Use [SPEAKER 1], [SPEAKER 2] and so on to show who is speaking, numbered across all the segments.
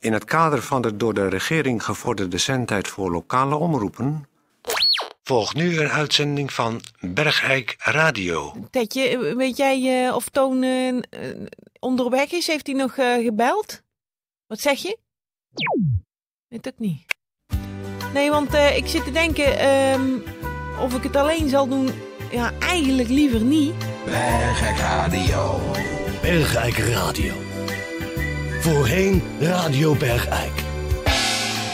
[SPEAKER 1] In het kader van de door de regering gevorderde zendtijd voor lokale omroepen volgt nu een uitzending van Bergijk Radio.
[SPEAKER 2] Tetje, weet jij eh, of Toon eh, eh, onderweg is? Heeft hij nog eh, gebeld? Wat zeg je? Weet ook niet. Nee, want eh, ik zit te denken ehm, of ik het alleen zal doen. Ja, eigenlijk liever niet.
[SPEAKER 3] Bergijk Radio.
[SPEAKER 4] Bergijk Radio. Voorheen Radio Bergijk.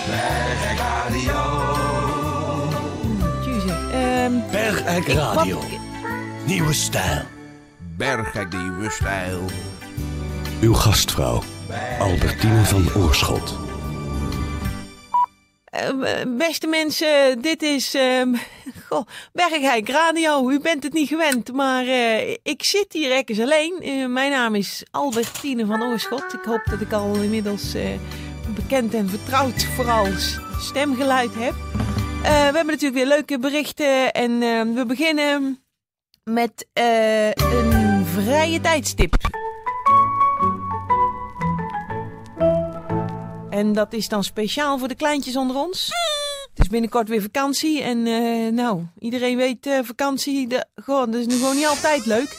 [SPEAKER 3] Bergijk Radio.
[SPEAKER 2] Jezus. Ehm,
[SPEAKER 4] Bergijk
[SPEAKER 2] wat-
[SPEAKER 4] Radio. Nieuwe stijl.
[SPEAKER 3] Bergijk Nieuwe Stijl.
[SPEAKER 4] Uw gastvrouw, Albertine van Oorschot.
[SPEAKER 2] Eh, beste mensen, dit is ehm goh, Bergijk Radio. U bent het niet gewend, maar eh, ik zit hier ergens alleen. Eh, mijn naam is Albertine van Oorschot. Ik hoop dat ik al inmiddels eh, bekend en vertrouwd vooral s- stemgeluid heb. Eh, we hebben natuurlijk weer leuke berichten en ehm, we beginnen met eh, een vrije tijdstip. En dat is dan speciaal voor de kleintjes onder ons. Het is binnenkort weer vakantie. En eh, nou, iedereen weet eh, vakantie. De, goh, dat is nu gewoon niet altijd leuk.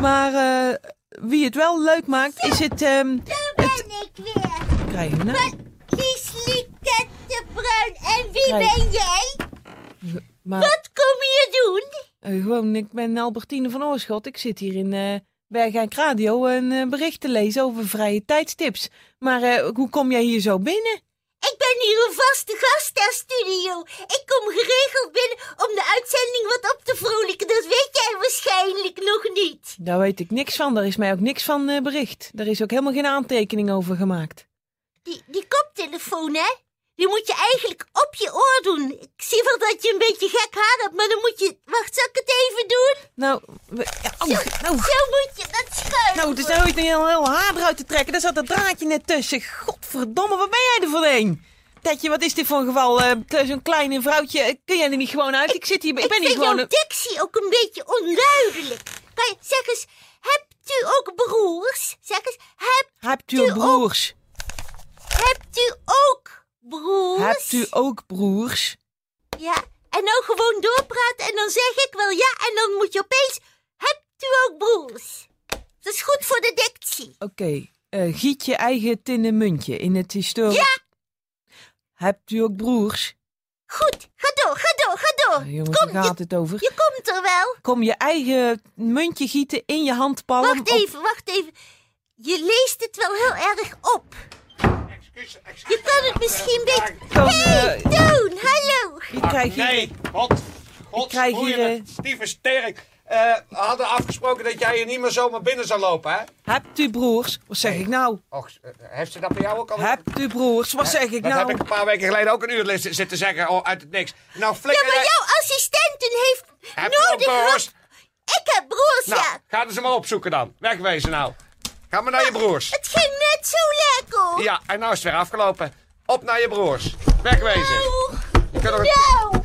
[SPEAKER 2] Maar eh, wie het wel leuk maakt, is het. ehm het
[SPEAKER 5] ben ik weer.
[SPEAKER 2] krijgen we nou?
[SPEAKER 5] Kieslieke de Bruin. En wie
[SPEAKER 2] Kijk.
[SPEAKER 5] ben jij?
[SPEAKER 2] Maar
[SPEAKER 5] Wat kom je doen?
[SPEAKER 2] eh, gewoon, ik ben Albertine van Oorschot. Ik zit hier in eh Bergijk Radio een eh, bericht te lezen over vrije tijdstips. Maar eh, hoe kom jij hier zo binnen?
[SPEAKER 5] Ik ben hier een vaste gast ter studio. Ik kom geregeld binnen om de uitzending wat op te vrolijken. Dat weet jij waarschijnlijk nog niet.
[SPEAKER 2] Daar weet ik niks van. Daar is mij ook niks van eh, bericht. Daar is ook helemaal geen aantekening over gemaakt.
[SPEAKER 5] Die, die koptelefoon, hè? Die moet je eigenlijk op je oor doen. Ik zie wel dat je een beetje gek haar hebt, maar dan moet je... Wacht, zal ik het even doen?
[SPEAKER 2] Nou, we, ja, au, nou,
[SPEAKER 5] Zo moet je dat schuiven.
[SPEAKER 2] Nou, het is nou niet heel, heel haar eruit te trekken. Daar zat dat draadje net tussen. Godverdomme, wat ben jij er voor een? Tetje, wat is dit voor een geval? Eh, Zo'n kleine vrouwtje, eh, kun jij er niet gewoon uit? Ik zit hier, ik ben hier
[SPEAKER 5] vind
[SPEAKER 2] gewoon...
[SPEAKER 5] jouw dictie ook een beetje onduidelijk. Kan je, zeg eens, hebt u ook broers? Zeg eens, heb,
[SPEAKER 2] Hebt u ook broers?
[SPEAKER 5] hebt u ook broers?
[SPEAKER 2] Hebt u ook broers?
[SPEAKER 5] Ja, en nou gewoon doorpraten en dan zeg ik wel ja en dan moet je opeens... Hebt u ook broers? Dat is goed voor de dictie.
[SPEAKER 2] Oké, eh, giet je eigen tinnen muntje in het historisch...
[SPEAKER 5] Ja.
[SPEAKER 2] Hebt u ook broers?
[SPEAKER 5] Goed, ga door, ga door, ga door.
[SPEAKER 2] Eh, jongens,
[SPEAKER 5] Kom,
[SPEAKER 2] daar gaat
[SPEAKER 5] je,
[SPEAKER 2] het over.
[SPEAKER 5] je komt er wel.
[SPEAKER 2] Kom je eigen muntje gieten in je handpalm...
[SPEAKER 5] Wacht
[SPEAKER 2] op-
[SPEAKER 5] even, wacht even. Je leest het wel heel erg op. Je kan het misschien beter...
[SPEAKER 2] Dan,
[SPEAKER 5] hey,
[SPEAKER 2] eh,
[SPEAKER 5] Toon, hallo.
[SPEAKER 2] Je krijgt hier...
[SPEAKER 6] Nee, god. God,
[SPEAKER 2] krijg hier, eh,
[SPEAKER 6] Stieve sterk. Eh, we hadden afgesproken dat jij hier niet meer zomaar binnen zou lopen, hè?
[SPEAKER 2] Hebt u broers? Wat zeg ik nou?
[SPEAKER 6] Och, eh, heeft ze dat bij jou ook al?
[SPEAKER 2] Hebt u broers? Wat zeg ik
[SPEAKER 6] dat
[SPEAKER 2] nou?
[SPEAKER 6] heb ik een paar weken geleden ook een uur lis- zitten zeggen oh, uit het niks. Nou,
[SPEAKER 5] Ja,
[SPEAKER 6] flikker
[SPEAKER 5] maar
[SPEAKER 6] jij-
[SPEAKER 5] jouw assistenten heeft
[SPEAKER 6] Heb je
[SPEAKER 5] nodig...
[SPEAKER 6] ook broers?
[SPEAKER 5] hulp. Ik heb broers,
[SPEAKER 6] Nou,
[SPEAKER 5] ja.
[SPEAKER 6] ga er ze maar opzoeken dan. Wegwezen nou. Ga maar naar je broers.
[SPEAKER 5] Het ging net zo lekker. hoor.
[SPEAKER 6] Ja, en nou is het weer afgelopen. Op naar je broers. Wegwezen.
[SPEAKER 5] Nou,
[SPEAKER 6] Je kunt ook...
[SPEAKER 5] nou,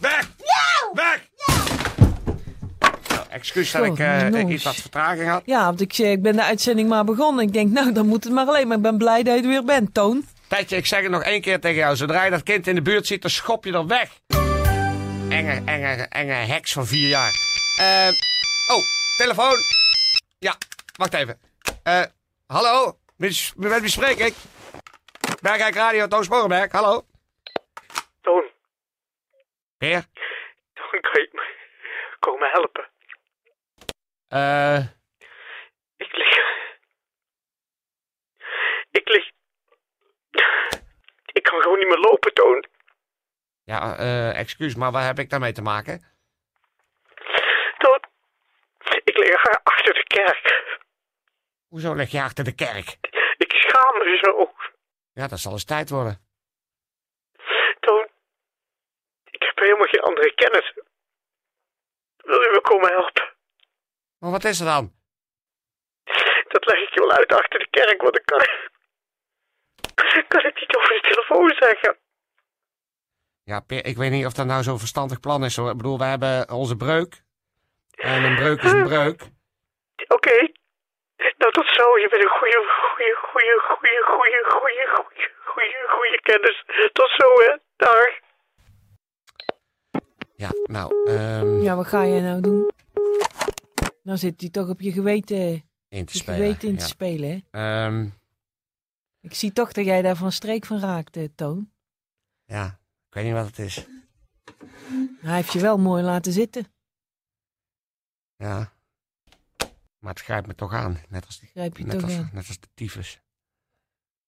[SPEAKER 6] Weg!
[SPEAKER 5] nou.
[SPEAKER 6] Weg! Nou, excuus dat
[SPEAKER 2] Zo,
[SPEAKER 6] ik eh,
[SPEAKER 2] jongens.
[SPEAKER 6] iets wat vertraging had.
[SPEAKER 2] Ja, want ik, zei, ik ben de uitzending maar begonnen. Ik denk, nou, dan moet het maar alleen. Maar ik ben blij dat je er weer bent, Toon.
[SPEAKER 6] Tijdje, ik zeg het nog één keer tegen jou. Zodra je dat kind in de buurt ziet, dan schop je er weg. Enge, enge, enge heks van vier jaar. Eh, oh, telefoon. Ja, wacht even. Eh, hallo? Met, met wie spreek ik? Bergijk Radio, Toon Sporenberg. Hallo?
[SPEAKER 7] Toon,
[SPEAKER 6] Heer?
[SPEAKER 7] Toon, kan je me, kan je me helpen?
[SPEAKER 6] Eh,
[SPEAKER 7] Ik lig... Ik lig... Ik kan gewoon niet meer lopen, Toon.
[SPEAKER 6] ja, eh, excuus, maar waar heb ik daarmee te maken?
[SPEAKER 7] Toon, ik lig a- achter de kerk.
[SPEAKER 6] Hoezo lig je achter de kerk?
[SPEAKER 7] Ik schaam me zo.
[SPEAKER 6] Ja, dat zal eens tijd worden.
[SPEAKER 7] Toon, ik heb helemaal geen andere kennis. Wil je me komen helpen?
[SPEAKER 6] Maar wat is er dan?
[SPEAKER 7] Dat leg ik je wel uit achter de kerk, want ik kan... Ik kan het niet over de telefoon zeggen.
[SPEAKER 6] Ja, Peer, ik weet niet of dat nou zo'n verstandig plan is. Hoor. Ik bedoel, we hebben onze breuk. En een breuk is een breuk.
[SPEAKER 7] Oké. Nou, tot zo. Je bent een goede, goede, goede, goede, goede, goede, goede, goede, goede kennis. Tot zo, hè. Dag.
[SPEAKER 6] Ja, nou, ehm
[SPEAKER 2] Ja, wat ga je nou doen? Dan zit hij toch op je geweten,
[SPEAKER 6] in te
[SPEAKER 2] dus je
[SPEAKER 6] spelen.
[SPEAKER 2] geweten in te
[SPEAKER 6] ja.
[SPEAKER 2] spelen. Hè?
[SPEAKER 6] Ehm,
[SPEAKER 2] Ik zie toch dat jij daar van streek van raakt, eh, Toon.
[SPEAKER 6] ja, ik weet niet wat het is.
[SPEAKER 2] Hij heeft je wel mooi laten zitten.
[SPEAKER 6] Ja. Maar het grijpt me toch aan. Net als, die-
[SPEAKER 2] Grijp je
[SPEAKER 6] net
[SPEAKER 2] toch
[SPEAKER 6] als,
[SPEAKER 2] aan.
[SPEAKER 6] net als de tyfus.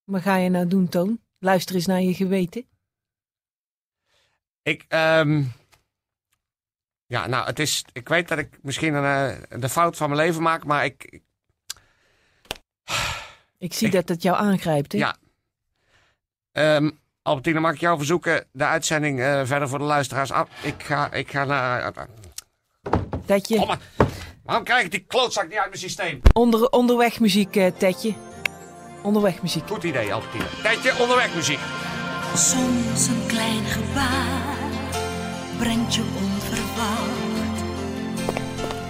[SPEAKER 2] Wat ga je nou doen, Toon? Luister eens naar je geweten.
[SPEAKER 6] Ik, ehm ja, nou, het is, ik weet dat ik misschien een, eh, de fout van mijn leven maak, maar ik, ik-
[SPEAKER 2] Ik zie
[SPEAKER 6] Ik-
[SPEAKER 2] dat het jou aangrijpt, hè?
[SPEAKER 6] ja. Ehm Albertine, mag ik jou verzoeken de uitzending eh, verder voor de luisteraars af? Ik ga, ik ga naar...
[SPEAKER 2] Tetje,
[SPEAKER 6] Oh, maar- waarom krijg ik die klootzak niet uit mijn systeem?
[SPEAKER 2] onder, onderweg muziek, eh, Tetje. Onderweg muziek.
[SPEAKER 6] Goed idee, Albertine. Tijdje onderweg muziek.
[SPEAKER 8] Soms een klein gebaar brengt je onverwacht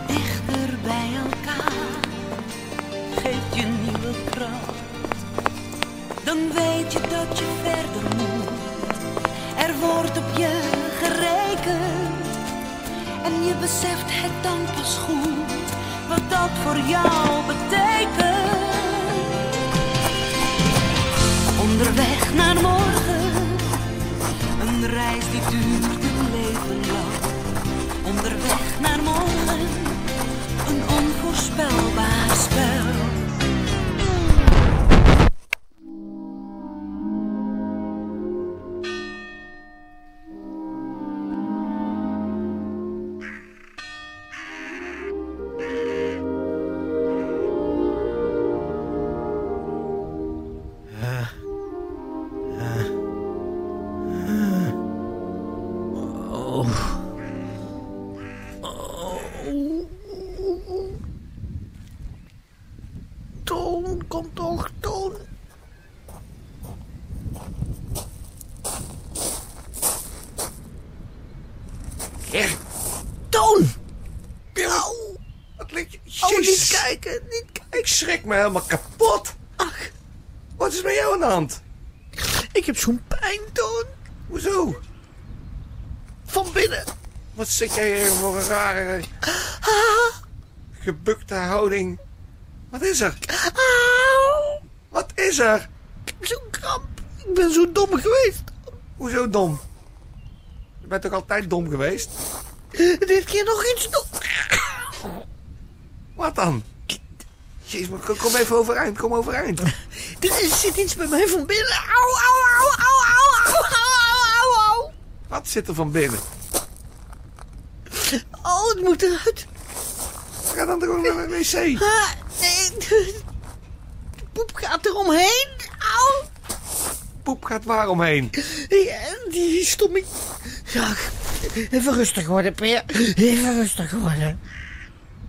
[SPEAKER 8] dichter bij elkaar, geeft je nieuwe kracht. Dan weet je dat je verder moet, er wordt op je gerekend en je beseft het dan pas goed wat dat voor jou betekent. Onderweg naar morgen, een reis die duurt een leven lang. Onderweg naar morgen, een onvoorspelbaar spel.
[SPEAKER 9] Toon, kom toch, Toon.
[SPEAKER 6] Echt?
[SPEAKER 9] Toon!
[SPEAKER 6] Au! Wat ligt je?
[SPEAKER 9] Oh, niet
[SPEAKER 6] Jezus.
[SPEAKER 9] kijken, niet kijken.
[SPEAKER 6] ik schrik me helemaal kapot.
[SPEAKER 9] Ach,
[SPEAKER 6] Wat is met jou aan de hand?
[SPEAKER 9] ik heb zo'n pijn, Toon.
[SPEAKER 6] Hoezo?
[SPEAKER 9] Van binnen.
[SPEAKER 6] Wat zit jij hier voor een rare
[SPEAKER 9] Ah,
[SPEAKER 6] gebukte houding? Wat is er?
[SPEAKER 9] auw.
[SPEAKER 6] Wat is er?
[SPEAKER 9] Ik heb zo'n kramp. Ik ben zo dom geweest.
[SPEAKER 6] Hoezo dom? Je bent toch altijd dom geweest?
[SPEAKER 9] Dit keer nog iets dom.
[SPEAKER 6] Wat dan? Jezus, maar kom- kom even overeind, kom overeind.
[SPEAKER 9] Er is- zit iets bij mij van binnen. Auw, auw, auw, auw, auw, auw, auw, auw, auw.
[SPEAKER 6] Wat zit er van binnen?
[SPEAKER 9] Oh, het moet eruit.
[SPEAKER 6] Ga dan gewoon naar de wc.
[SPEAKER 9] Ah, nee. De poep gaat eromheen. Auw.
[SPEAKER 6] Poep gaat waar omheen.
[SPEAKER 9] Ja, die stomme... Ja, even rustig worden, Peer. Even rustig worden.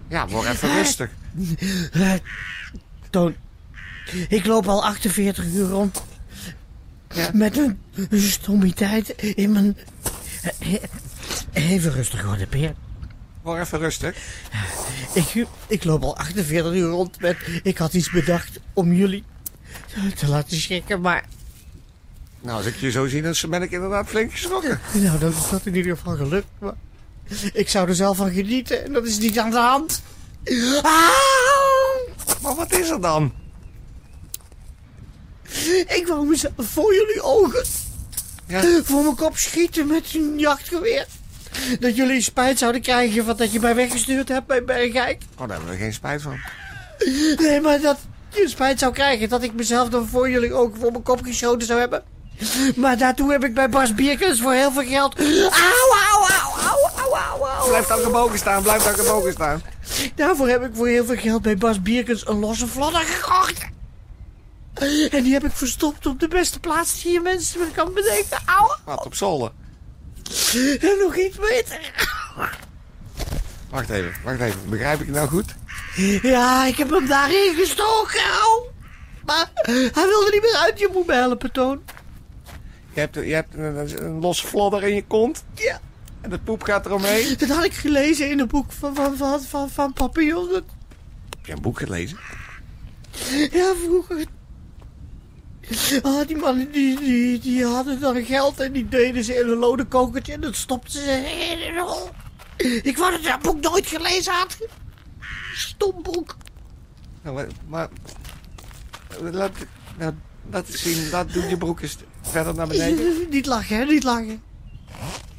[SPEAKER 6] Ja, word even rustig.
[SPEAKER 9] Eh, Toon, ik loop al 48 uur rond. Met een stommiteit in mijn... Eh, eh, Even rustig worden, Peer.
[SPEAKER 6] Word even rustig.
[SPEAKER 9] Ik, ik loop al 48 uur rond met... Ik had iets bedacht om jullie te laten schrikken, maar...
[SPEAKER 6] Nou, als ik je zo zie, dan ben ik inderdaad flink geschrokken.
[SPEAKER 9] Nou, dat is dat in ieder geval gelukt, maar... Ik zou er zelf van genieten en dat is niet aan de hand. Ah! Auw!
[SPEAKER 6] Maar wat is er dan?
[SPEAKER 9] Ik wou mezelf voor jullie ogen,
[SPEAKER 6] Ja.
[SPEAKER 9] voor mijn kop schieten met een jachtgeweer. Dat jullie spijt zouden krijgen van dat je mij weggestuurd hebt bij Bergijk.
[SPEAKER 6] Oh, daar hebben we geen spijt van.
[SPEAKER 9] Nee, maar dat je spijt zou krijgen dat ik mezelf dan voor jullie ogen voor mijn kop geschoten zou hebben. Maar daartoe heb ik bij Bas Bierkens voor heel veel geld... Auw, auw, auw, auw, auw, auw, auw.
[SPEAKER 6] Blijf dan gebogen staan, blijf dan gebogen staan.
[SPEAKER 9] Daarvoor heb ik voor heel veel geld bij Bas Bierkens een losse vlodder gekocht. En die heb ik verstopt op de beste plaats die je mensen maar kan bedenken. Auw.
[SPEAKER 6] Wat op zolder.
[SPEAKER 9] En nog iets beter.
[SPEAKER 6] Wacht even, wacht even. Begrijp ik het nou goed?
[SPEAKER 9] Ja, ik heb hem daarin gestoken. Au. Maar hij wilde niet meer uit. Je moet me helpen, Toon.
[SPEAKER 6] Je hebt, je hebt een, een los vlodder in je kont
[SPEAKER 9] Ja,
[SPEAKER 6] en de poep gaat eromheen.
[SPEAKER 9] dat had ik gelezen in een boek van, van, van, van, van Papillon. Dat-
[SPEAKER 6] Heb je een boek gelezen?
[SPEAKER 9] Ja, vroeger. Ah, die mannen die, die, die hadden dan geld en die deden ze in een lode kokertje en dat stopten ze in een hol. Ik wou dat dat boek nooit gelezen had. Stom boek.
[SPEAKER 6] Nou, maar... maar laat, nou, laat eens zien. Laat, doe je broek eens verder naar beneden.
[SPEAKER 9] Niet lachen, hè? Niet lachen.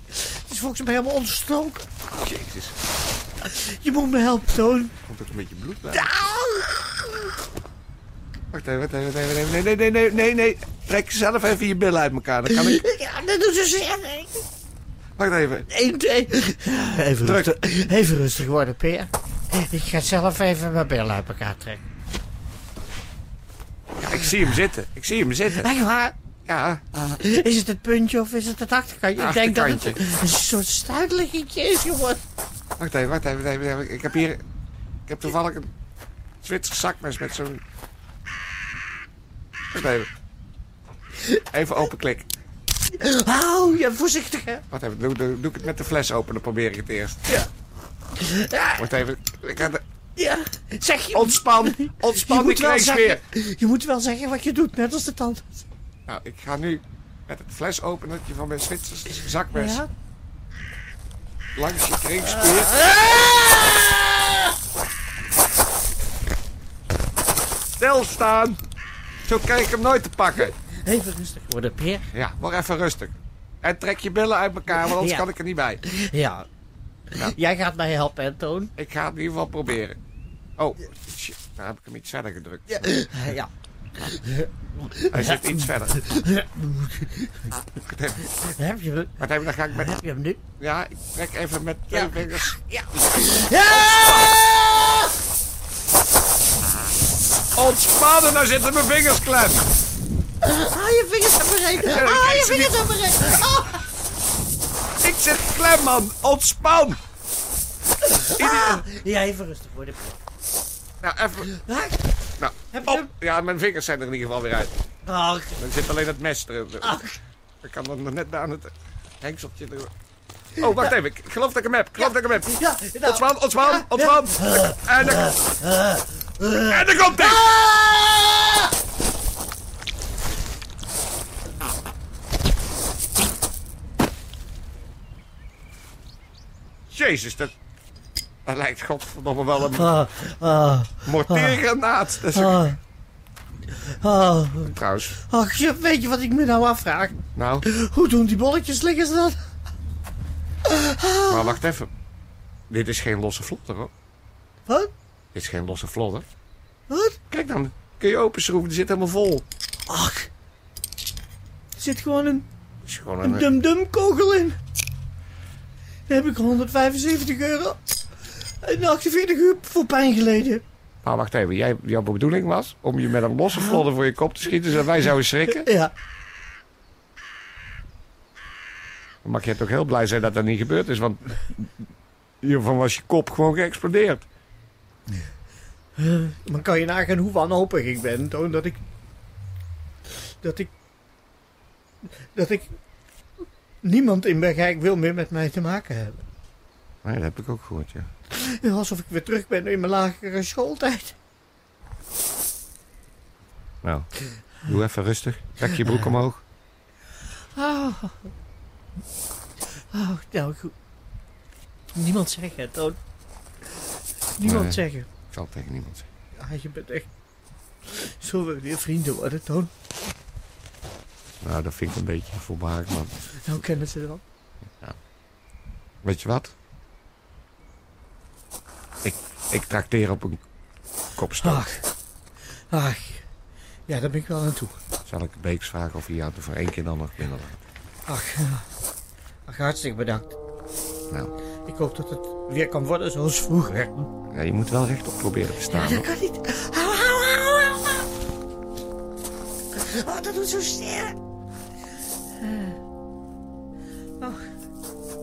[SPEAKER 9] Het is volgens mij helemaal ontstoken.
[SPEAKER 6] Jezus.
[SPEAKER 9] Je moet me helpen, Toon.
[SPEAKER 6] Komt ook een beetje bloed bij. Wacht even, wacht even, wacht even, wacht even. Nee, nee, nee, nee, nee, nee. Trek zelf even je billen uit elkaar. Dan kan ik...
[SPEAKER 9] Ja, dat doet ze zeer.
[SPEAKER 6] Wacht even.
[SPEAKER 9] Eén, twee. Even
[SPEAKER 6] Druk.
[SPEAKER 9] rustig, even rustig worden, Peer. Ik ga zelf even mijn billen uit elkaar trekken.
[SPEAKER 6] Ja, ik zie hem zitten. Ik zie hem zitten.
[SPEAKER 9] Echt waar?
[SPEAKER 6] Ja.
[SPEAKER 9] Ah. Is het het puntje of is het het achterkantje? Ik denk dat het
[SPEAKER 6] Achterkantje.
[SPEAKER 9] een soort stuitliggetje is, jongen.
[SPEAKER 6] Wacht even, wacht even, wacht even, wacht even. Ik heb hier... Ik heb toevallig een Zwitser zakmes met zo'n... Wacht even. Even openklik.
[SPEAKER 9] Hou je voorzichtig, hè.
[SPEAKER 6] Wacht even, doe, doe, doe ik het met de fles open, dan probeer ik het eerst.
[SPEAKER 9] Ja,
[SPEAKER 6] Wacht even. Ik ga de...
[SPEAKER 9] ja. Oh, Zeg je...
[SPEAKER 6] Ontspan,
[SPEAKER 9] je
[SPEAKER 6] ontspan, ik
[SPEAKER 9] moet, wel
[SPEAKER 6] kreeg weer.
[SPEAKER 9] zeggen, je moet wel zeggen wat je doet, net als de tand.
[SPEAKER 6] Nou, ik ga nu met het fles openertje van mijn Zwitserse zakmes
[SPEAKER 9] Ja. Ah.
[SPEAKER 6] langs je kringspier. Stilstaan! Zo krijg ik hem nooit te pakken.
[SPEAKER 9] Even rustig worden, Peer.
[SPEAKER 6] Ja, word even rustig. En trek je billen uit elkaar, want anders
[SPEAKER 9] Ja.
[SPEAKER 6] kan ik er niet bij.
[SPEAKER 9] Ja. Jij gaat mij helpen, hè, Toon?
[SPEAKER 6] Ik ga het in ieder geval proberen. Oh, shit, daar heb ik hem iets verder gedrukt.
[SPEAKER 9] Ja.
[SPEAKER 6] Hij zit iets verder. Wacht even,
[SPEAKER 9] Heb je, hem-
[SPEAKER 6] wacht even, dan ga ik met...
[SPEAKER 9] heb je hem nu?
[SPEAKER 6] Ja, ik trek even met twee vingers.
[SPEAKER 9] Ja!
[SPEAKER 6] Ontspannen, nou zitten mijn vingers klem.
[SPEAKER 9] Ah, je vingers hebben bereikt. Ah, je vingers hebben bereikt. Ah,
[SPEAKER 6] Ik zit klem, man. Ontspan.
[SPEAKER 9] Ja, even rustig worden.
[SPEAKER 6] Nou, even...
[SPEAKER 9] Ah,
[SPEAKER 6] Nou,
[SPEAKER 9] Heb je
[SPEAKER 6] op.
[SPEAKER 9] hem?
[SPEAKER 6] Ja, mijn vingers zijn er in ieder geval weer uit.
[SPEAKER 9] Ach,
[SPEAKER 6] Dan zit alleen het mes erin.
[SPEAKER 9] ach.
[SPEAKER 6] Ik kan dan nog net aan het hengseltje erin. Oh, wacht even. Ik geloof dat ik hem heb. Ik geloof dat ik hem heb.
[SPEAKER 9] Ja, nou.
[SPEAKER 6] Ontspan, ontspan, ontspan. En dan... En dan komt hij.
[SPEAKER 9] Ah!
[SPEAKER 6] Jezus, dat... Dat lijkt godverdomme wel een
[SPEAKER 9] Ah, ah,
[SPEAKER 6] mortiergranaat. Dat is ook-
[SPEAKER 9] ah. Ah.
[SPEAKER 6] Trouwens,
[SPEAKER 9] Ach, je- weet je wat ik me nou afvraag?
[SPEAKER 6] nou,
[SPEAKER 9] Hoe doen die bolletjes liggen ze dan?
[SPEAKER 6] maar wacht even. Dit is geen losse vlodder, hoor.
[SPEAKER 9] Wat?
[SPEAKER 6] Dit is geen losse vlodder.
[SPEAKER 9] Wat?
[SPEAKER 6] Kijk dan, kun je openschroeven, die zit helemaal vol.
[SPEAKER 9] Ach. Er zit gewoon een
[SPEAKER 6] Het is gewoon
[SPEAKER 9] Een
[SPEAKER 6] een...
[SPEAKER 9] dum-dum kogel in. Daar heb ik 175 euro en 48 uur voor pijn geleden.
[SPEAKER 6] Maar wacht even, jij, jouw bedoeling was om je met een losse vlodder voor je kop te schieten, zodat wij zouden schrikken?
[SPEAKER 9] Ja.
[SPEAKER 6] Dan mag je toch heel blij zijn dat dat niet gebeurd is, want hiervan was je kop gewoon geëxplodeerd.
[SPEAKER 9] Maar kan je nagaan hoe wanhopig ik ben, Toon, dat ik... Dat ik... Dat ik... Niemand in Bergijk wil meer met mij te maken hebben.
[SPEAKER 6] Nee, dat heb ik ook gehoord, ja.
[SPEAKER 9] Ja, Alsof ik weer terug ben in mijn lagere schooltijd.
[SPEAKER 6] Nou, doe even rustig. Trek je broek omhoog.
[SPEAKER 9] Oh. Oh, nou goed. Niemand zeggen, Toon. Niemand
[SPEAKER 6] Nee.
[SPEAKER 9] zeggen.
[SPEAKER 6] Ik zal het tegen niemand zeggen.
[SPEAKER 9] Ah, je bent echt... Zullen we weer vrienden worden, Toon?
[SPEAKER 6] Nou, dat vind ik een beetje voorbarig, man.
[SPEAKER 9] Nou kennen ze wel.
[SPEAKER 6] Weet je wat? Ik, ik trakteer op een kopstoot.
[SPEAKER 9] Ach. Ach. Ja, daar ben ik wel aan toe.
[SPEAKER 6] Zal ik Beeks vragen of hij jou er voor één keer dan nog binnen laat?
[SPEAKER 9] Ach. ja. Ach, hartstikke bedankt.
[SPEAKER 6] Nou,
[SPEAKER 9] Ik hoop dat het weer kan worden zoals vroeger.
[SPEAKER 6] ja, je moet wel rechtop proberen te staan. hoor.
[SPEAKER 9] kan niet. Au, au, au, au, au. Oh, dat doet zo zeer. Eh. Oh.